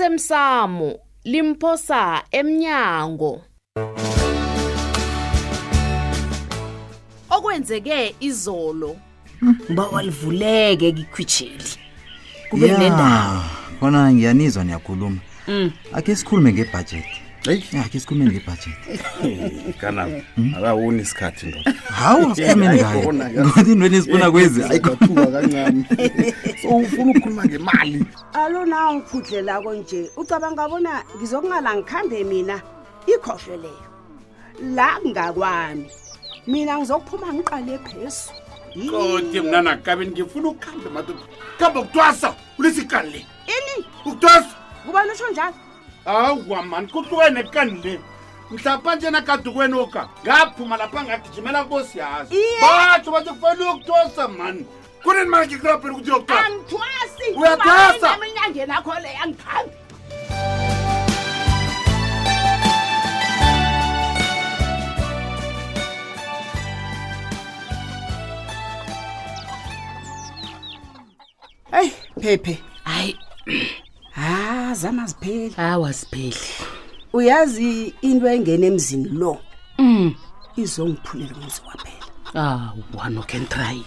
osemsamo limphosa emnyango okwenzeke izolo uba walivuleke kikhwitsheli kube Ya, nendawo khona ngiyanizwa niyakhuluma Mm. akhe sikhulume ngebhajethi Hey. ya akhe sikhulumeni ngebhajethi kana akawuni isikhathi ndoda hawu asikhulumeni hayi, ngayo khona, ya. Mm. ngoba intweni ezifuna kwezi hayi, ayikathuka kancane so ufuna ukukhuluma ngemali alo na ungiphudlelako nje ucabanga bona ngizokungala ngikhambe mina ikhohlwe leyo la kungakwami mina ngizokuphuma ngiqale phezu kodwa mna nakabeni ngifuna ukuhambe madoda khambe ukutwasa ulisikani le ini ukutwasa kubani usho njalo awa mani kuhlukene nekani le mhlaphanje nakadukweni oka ngaphuma lapha ngagijimela kubosi yazo Iye. batsho bathi kufanele uyokutwasa mani kunini mani ngikurabheni ukuthi uyokutwasa angithwasi Uyatwasa. eminyangeni akho leyo angikhambi eyi phephe hayi ha Ah, zama zipheli awazipheli uyazi into engena emzini lo um izongiphulela umuzi kwaphela Ah, awanokentry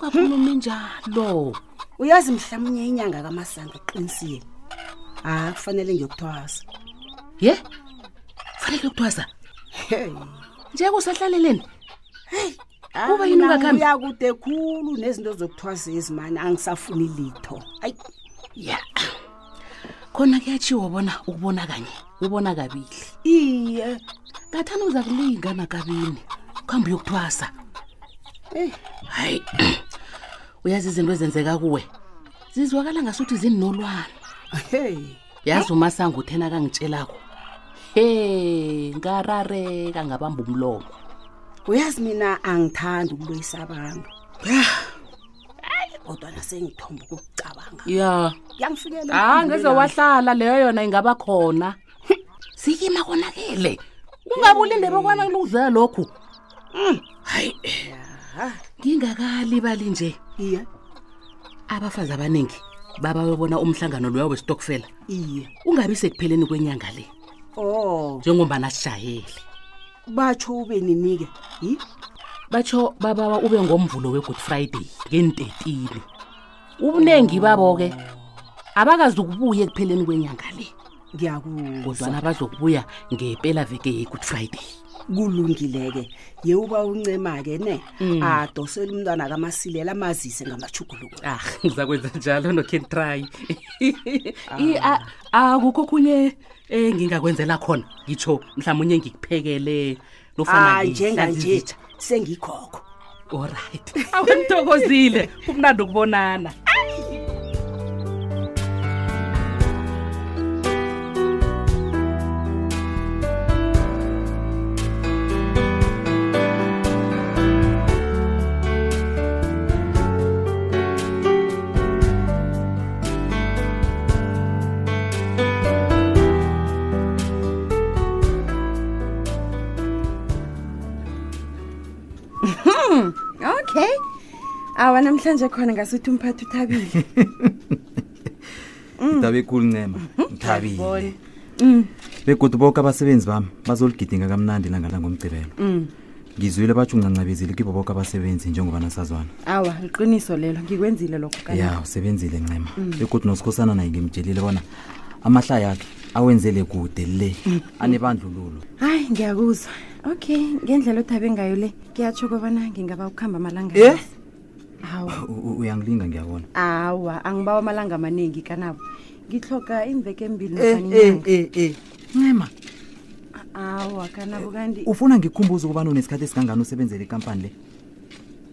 kakhulumi njalo uyazi mhlawumnye inyanga kamasanga uqinisile ha kufanele ngiyokuthwasa ye fanele ukuthwasa njeko usahlaleleni Kuba yini ungakhambi? uyakude Ah, khulu nezinto zokuthwasa ezimane angisafuni litho ayi ya khona kuyatshiwo bona ukubona kanye ubona kabili iye ngathani uza kulinga nakabini kuhambe uyokuthwasa Eh. hayi uyazi izinto ezenzeka kuwe zizwakala ngasuthi zininolwana hey yazi umasango uthena kangitshelako he ngarareka ngabamba umlomo uyazi mina angithandi ukuloyisa abantu Ah. hayi kodwa nasengithomba ukukucabanga ya yangifikela ha Ah, ngeze wahlala leyo yona ingaba khona sikima konakele ungabulinde bokwana kulungidlela lokhu Mm, hayi ngingakalibali nje iye abafazi abaningi baba bebona umhlangano loya wesitokfela iye ungabi sekupheleni kwenyanga le o njengombana sishayele batsho ube ninike yi batsho babawa ube ngomvulo we-good friday ngentetini ubuningi babo-ke abakazukubuya ekupheleni kwenyanga le ngiyakuzwa kodwana bazokubuya ngepelaveke ye-good friday kulungileke ye uba uncema-ke ne Mm. adosele umntwana kamasilela amazise ngamajuguluko ah ngizakwenza njalo nokentry Ah. akukho okhunye um ngingakwenzela khona ngitsho mhlawumunye ngikuphekele ah nofana njenganje sengikhokho olright awunithokozile kumnandi ukubonana okay awa namhlanje khona ngasuthi umphathi uthabile idaba ekulu ncema ngithabile begodwa boke abasebenzi bami bazoligidinga kamnandi langa langomgcibelo ngizwile batsho uncancabezile kibo boke abasebenzi njengoba nasazwana awa liqiniso lelo ngikwenzile lokho kani ya usebenzile ncema begodwa nosikhosana naye ngimtshelile bona amahlaya akhe awenzele kude le anebandlululo hayi ngiyakuzwa okay ngendlela othabe ngayo le kuyatsho kobana ngingaba ukuhamba amalanga Ye? amazi. awa U- u- uyangilinga ngiyabona awa angibawa amalanga amaningi kanabo ngihloga imveke embili Eh, nofana eh, inyanga eh, eh. ncema awa kanabo kanti ufuna ngikhumbuze ukubana unesikhathi esingangani usebenzela ikampani le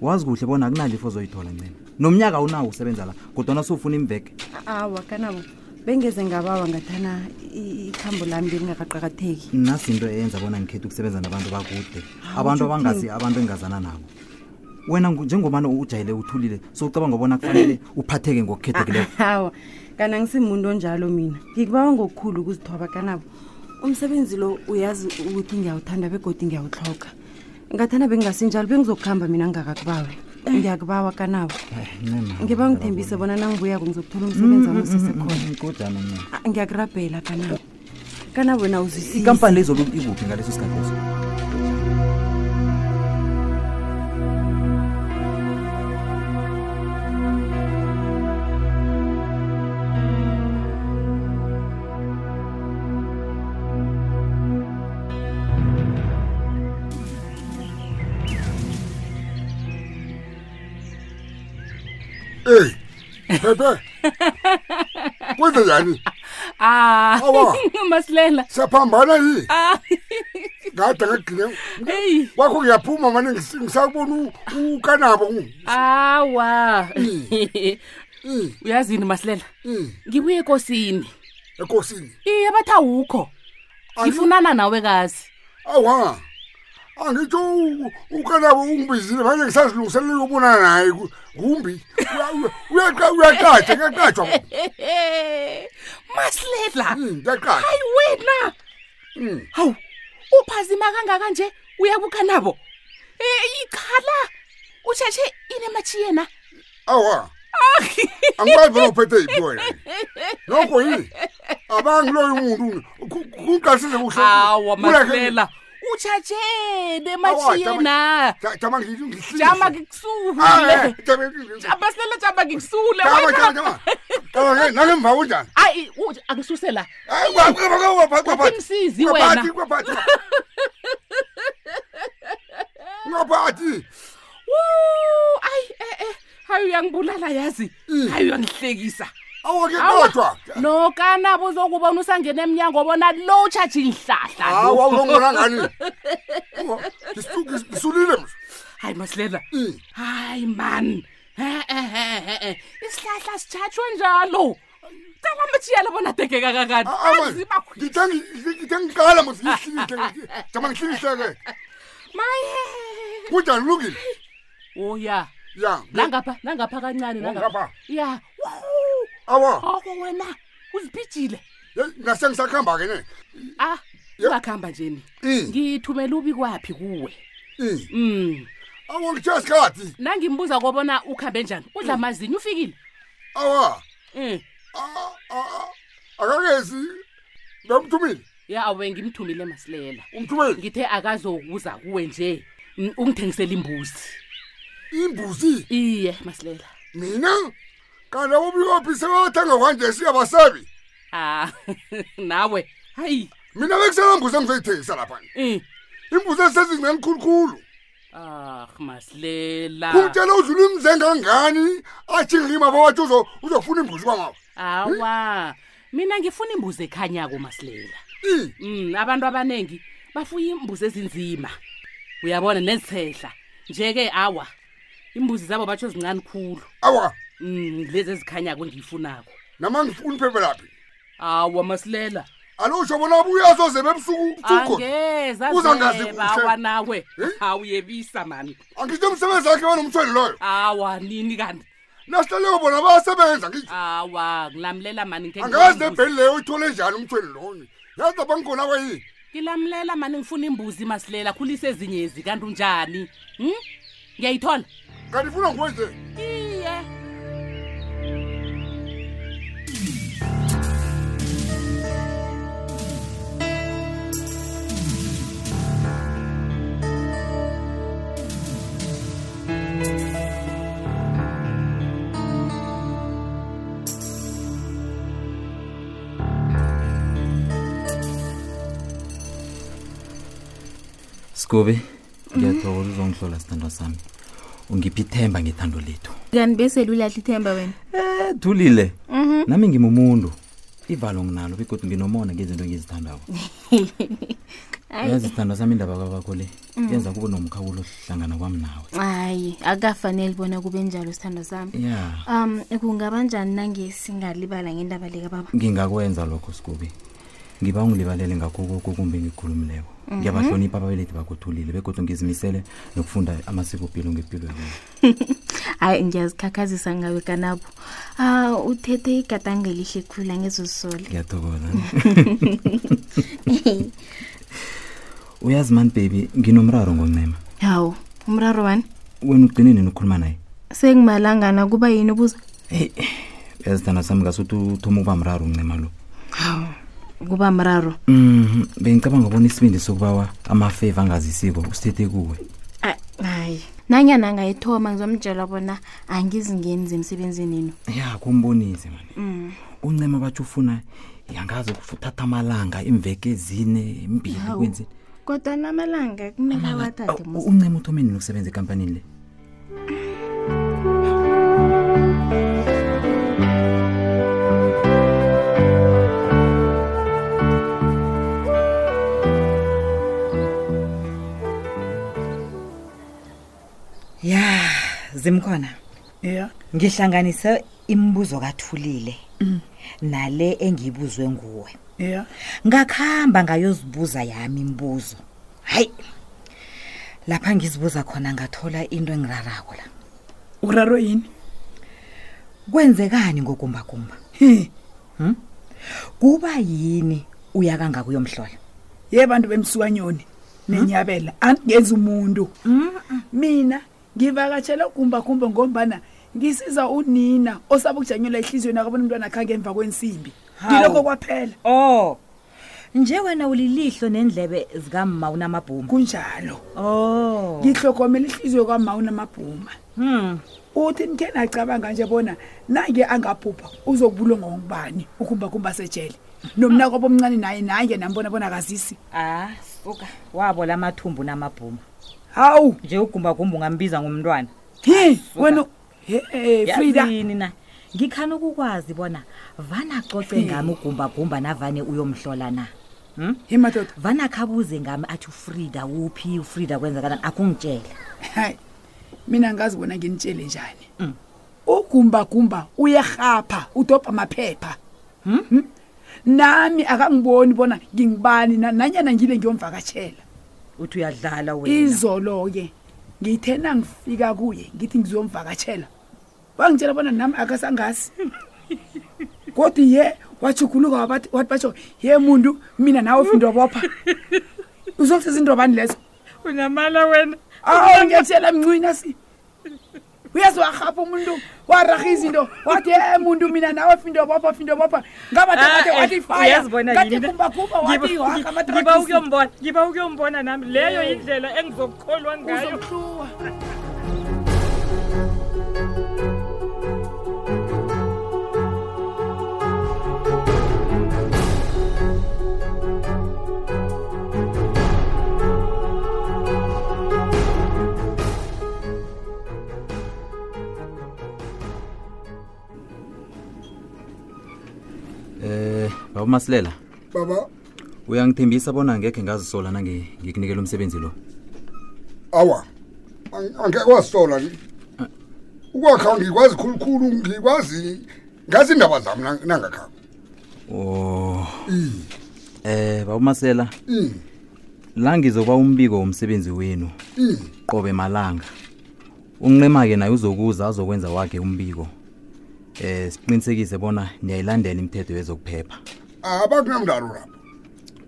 wazi kuhle bona akunalifo ozoyithola ncema nomnyaka awunawo usebenza la kodwana sowufuna imveke awa kanabo bengeze ngabawa ngathana i- ikhambo lami belingakaqakatheki nasinto eyenza bona ngikhethe ukusebenza nabantu bakude Hawu, abantu utjho abangazi ukuthini? abantu engazana nabo wena ngu- njengobana ujayele uthulile sowucabanga ubona kufanele uphatheke Ah, ngokukhethekileyo hawa kana ngisimuntu onjalo mina ngikubawa ngokukhulu ukuzithoba kanabo umsebenzi lo uyazi ukuthi ngiyawuthanda begodi ngiyawuhloga ngathanda bengingasinjalo bengizokuhamba mina ngingakakubawe Eh. ngiyakubawa kanabo ah. ngiba ngithembise bona nangibuyako ngizokuthola umsebenzi wami Mm, usesekhona kodana mna Ah, ngiyakurabhela kanabo kanabo na uzwisisa ikampani lezolo ikuphi ngaleso sikhathi leso eyi pepe kwenze njani Ah, Awa. masilela siyaphambana yi Ah, ngade ngagcine eyi kwakho ngiyaphuma mane ngis- ngisakubona u- ukanabo awa Mm. uyazini masilela Mm. ngibuye ekosini ekosini iye bathi awukho ngifunana nawe kazi awa angitsho u- ukanabo ungibizile manje ngisazilungiselela ukubonana naye Ku- kumbi uyaqatshwa ngiyaqatshwa masilela ngiyaqatshwa hayi wena Mm, hawu uphazima kangaka nje uyabuka nabo Eh, ikhala usheshe inemachi yena awa angikwazi bona uphethe yiphi wena nokho yini abangiloyo umuntu kunqasize awa masilela utshatshe nemachi yena jama ngihlise. jama Ah, eh, ngikusule jama ngihlise. masilela jama ngikusule Jama, wena. jama, jama. Jama, nge- nangemva kunjani hayi u- angisuse la Hayi, kwa- kwa- kwa- kwa- kwa- kwa- Uthimsizi kwa- kwaphakathi, wena. kwaphakathi. Kwaphakathi. Woo, ayi eh eh hayi uyangibulala yazi Mm. hayi uyangihlekisa Awa, ke Awa. kodwa. no kanabo uzokubona usangena emnyango obona lo utshatshe inhlahla lo. Awa, uzongibona ngani? Awa, ngisu- ngis- ngisulile mos. hayi masilela Mm. hayi mani e-e-e-e isihlahla sitshatshwe njalo cala matshiyela bona tekeka kakani Ah, ah, man. azima khwi- Ngithe ngi- ngithe ngiqala mos, ngihlikihle, ngihlikihle. Jama ngihlikihle-ke. maye Kunjani, kulungile? oya Ya. nangapha nangapha kancane Oh, nangapha ngapha. ya Awa, oko wena uzibhijile yeyi, ngase ngisakuhamba-ke ne. ah Yep. ungakuhamba njeni Mm, ngithumela ubi kwaphi kuwe mm. um Awa, ngithe isikhathi. nangimbuza kobona ukuhambe njani Mm. udla amazinyo ufikile Awa. um Ah, ah, ah. akakezi bemthumile ya awe ngimthumile masilela umthumile ngithe akazokuza kuwe nje mm, ungithengisele imbuzi imbuzi iye masilela mina kanti abobikophi sebathenga kwanje siyabasabi ah nawe hayi mina bekuselambuzi engizoyithengisa laphani um imbuzi ezisezincane khulukhulu ah masilela kungitshela udlula imzenga kangani ajingima bawathi uzo- uzofuna imbuzi kwamawa awa mina ngifuna imbuzi ekhanyako masilela I, um abantu abaningi bafuye imbuzi ezinzima uyabona nezithehla nje-ke awa imbuzi zabo batsho zincane khulu awa um lezi ezikhanyako engiyifunako nama ngifuna iphephe laphi awa masilela alotsho bona abuyazozeba ebusuku usukhona Uzangazi kuhle. angezaawa nawe Eh? awuyebisa mani angisho umsebenzi wakhe banomthwelo loyo awa nini kanti nasihlaleyo bona bayasebenza ngisho awa ngilamlela mani ngikhe angazi ngifune nebheli leyo uyithole njani umthweni loni yazi lapha ngikhona kwayini imbuzi. ngilamlela mani ngifuna imbuzi masilela khulisa ezinyezi kanti unjani um ngiyayithola kanti ifuna nguwe nje iye sikobe ngiyathokoza Mhm. uzongihlola sithandwa sami ungiphi ithemba ngethando lethu kanti bese lulahla ithemba wena Eh, thulile nami ngimumuntu ivalo nginalo begodwa nginomona ngezinto engizithandako uyazi sithandwa sami indaba kwabakho le yenza kube nomkhawulo hlangana kwami nawe hayi akukafanele bona kube njalo sithandwa sami ya um kungaba njani nangesingalibala ngendaba lika baba ngingakwenza lokho sikobi ngiba ungilibalele ngakho koko kumbe engikhulumileko ngiyabahlonipha ababelethi bakho thulile begodwa ngizimisele nokufunda amasikopilo ngempilo yabo hayi ngiyazikhakhazisa ngawe kanabo ah uthethe igadango elihle khulu angezosole ngiyathokoza uyazi mani baby nginomraro ngoncema hawu umraro wani wena ugcine nini ukhuluma naye sengimalangana kuba yini ubuza heyi uyazithanda sami ngasuthi uthoma ukuba mraro uncema lo hawu kuba mraro Mhm, bengicabanga ubona isibindi sokubawa amafeva angazisiko usithethe kuwe Ah, hayi nanyana angayithoma ngizomtshela bona angizingenzi emsebenzini enu ya kumbonise mani uncema batsho ufuna yangazi kusho uthatha amalanga imveke ezine mbili Hawu. kwenzeni kodwa namalanga kumele awathathe Awu, uncema uthome nini ukusebenza ekampanini le ya zimkhona ya ngihlanganise imibuzo kathulile nale engiyibuzwe nguwe Mm. ya ngakuhamba ngayozibuza yami imibuzo hayi lapha ngizibuza khona ngathola into engirarako la uraro yini kwenzekani ngokumbagumba Hmm? Hi, kuba yini uya kangaka uyomhlola Hmm? ye bantu bemsukanyoni nenyabela angenza umuntu mina ngivakatshela ugumbagumba ngombana ngisiza unina osaba ukujanyelwa ehliziyweni akabona umntwana akhange emva kwensimbi ngilokho kwaphela oh nje wena ulilihlo nendlebe zikamma unamabhuma kunjalo oh ngihlokomela ihliziyo kwama unamabhuma hmm. uthi nithe nacabanga nje bona nange angabhubha uzobulwa ngongubani ugumbagumba sejele nomna kwabo omncane naye nange nambona bona kazisi ah suka wabo la mathumbu namabhuma hawu nje ugumbagumba ungambiza ngomntwana hi wena he frida yazini na ngikhani ukukwazi bona vana acoce ngami ugumbagumba navane uyomhlola na hmm? hi madoda vana khabuze ngami athi ufrida uphi ufrida kwenzakalani akungitshela hayi mina ngazi bona nginitshele njani ugumbagumba uyerhapha udobha amaphepha Hmm? nami akangiboni bona ngingibani na- nanyana ngile ngiyomvakatshela uthi uyadlala wena izolo-ke ngithe nangifika kuye ngithi ngiziyomvakatshela wangitshela bona nami akasangasi kodwa ye wajuguluka wabathi wathi batsho ye muntu mina nawe findobopha uzokuseza indobani lezo unamala wena awu ngiyatshela mncwina si uyazi warhapha umuntu waraha izinto wathi e muntu mina nawe findobopha findobopha ngabathe wathi fayakumbakumba wathi waha amatrakisi ngiba ukuyombona nami leyo yindlela engizokukholwa uzokluwa um baba masilela baba uyangithembisa bona ngekhe ngazisola nange- ngikunikela umsebenzi lo awa ang- angeke wasola ni ukwakha ngikwazi khulukhulu ngikwazi ngazi indaba zami nang- nangakha o um Oh. baba masela Mm, la ngizoba umbiko womsebenzi wenu mm. qobe malanga unqema-ke naye uzokuza azokwenza wakhe umbiko um siqinisekise bona niyayilandela imithetho yezokuphepha abakunamdalo lapho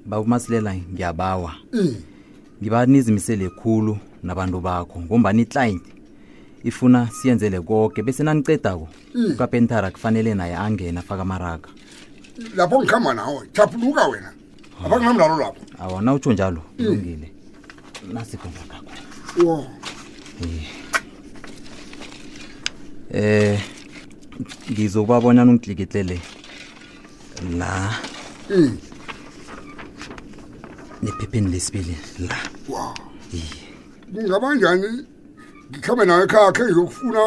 babumasilela ngiyabawa Mm, ngiba nizimisele khulu nabantu bakho ngombani iclient ifuna siyenzele konke bese nanicedako Mm. ukapentara kufanele naye angena afaka amaraga lapho ngikhamba nawe thapuluka wena abakunamdalo lapho awona utsho njalo ulungile nasikonakakho wo um ngizokubabonana ungitlikitlele la Mm, nephepheni lesibili la wa iye kungaba njani ngikhambe nawe ekhaya khe ngiyokufuna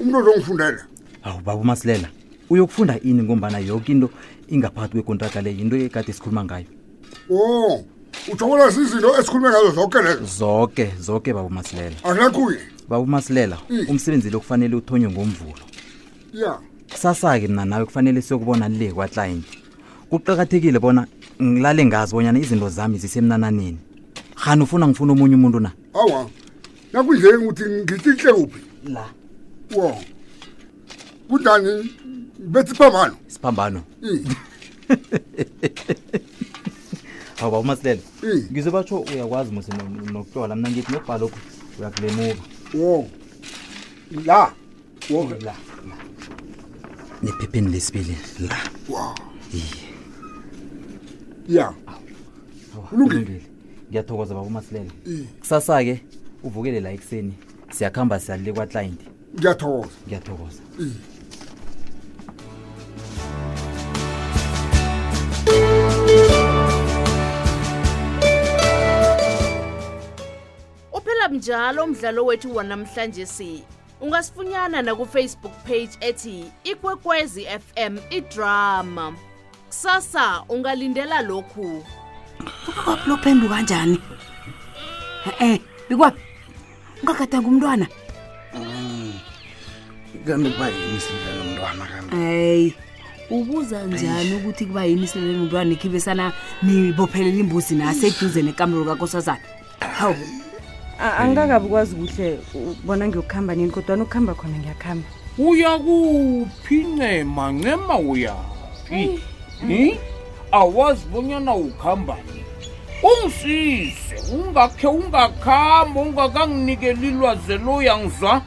umuntu ozongifundela awu baba umasilela uyokufunda ini ngombana yoke into ingaphakathi kwekontraka le yinto ekade sikhuluma ngayo o uthokola zizinto esikhulume ngazo zonke lezo zoke zoke baba umasilela akulakuye baba umasilela Mm. umsebenzi lo kufanele uthonywe ngomvulo ya kusasa-ke mna nawe kufanele siyokubona le kwaclayinti kuqakathekile bona ngilale ngazi bonyana izinto zami zisemnananeni hani ufuna ngifuna omunye umuntu na awa nakunje ngithi ngithinhle uphi la wo kunjani bethi phambano siphambano Mm, awu baba umasilela Mm. ngizobatsho uyakwazi mose nokutola mna ngithi nokubhalokhu uyakulemuka wo la wo la nephepheni lesibili la wa iye ya Awa, Kulungile. kulungile. ngiyathokoza baba umasilela Iye. kusasa-ke uvukele la ekuseni siyakuhamba siyalile kwaclayinti ngiyathokoza ngiyathokoza uphela mnjalo umdlalo wethu wanamhlanje si ungasifunyana nakufacebook page ethi ikwekwezi fm idrama kusasa ungalindela lokhu lophenduka kanjani e-e bikwaphi ungagadanga umntwana Hmm, kanti kuba yini sidlala mntwana kanti eyi ubuza njani ukuthi kuba yini isileleni umntwana ikhibesana nibophelela imbuzi naseduze nekamelo kakosazana hawu angakabi ukwazi kuhle ubona ngiyokuhamba nini kodwana ukuhamba khona ngiyakuhamba uya kuphi ncema ncema uyaphi hi awazi bonyana ukhambani ungisize ungakhe ungakhamba ungakanginikeli lwaze loya ngizwa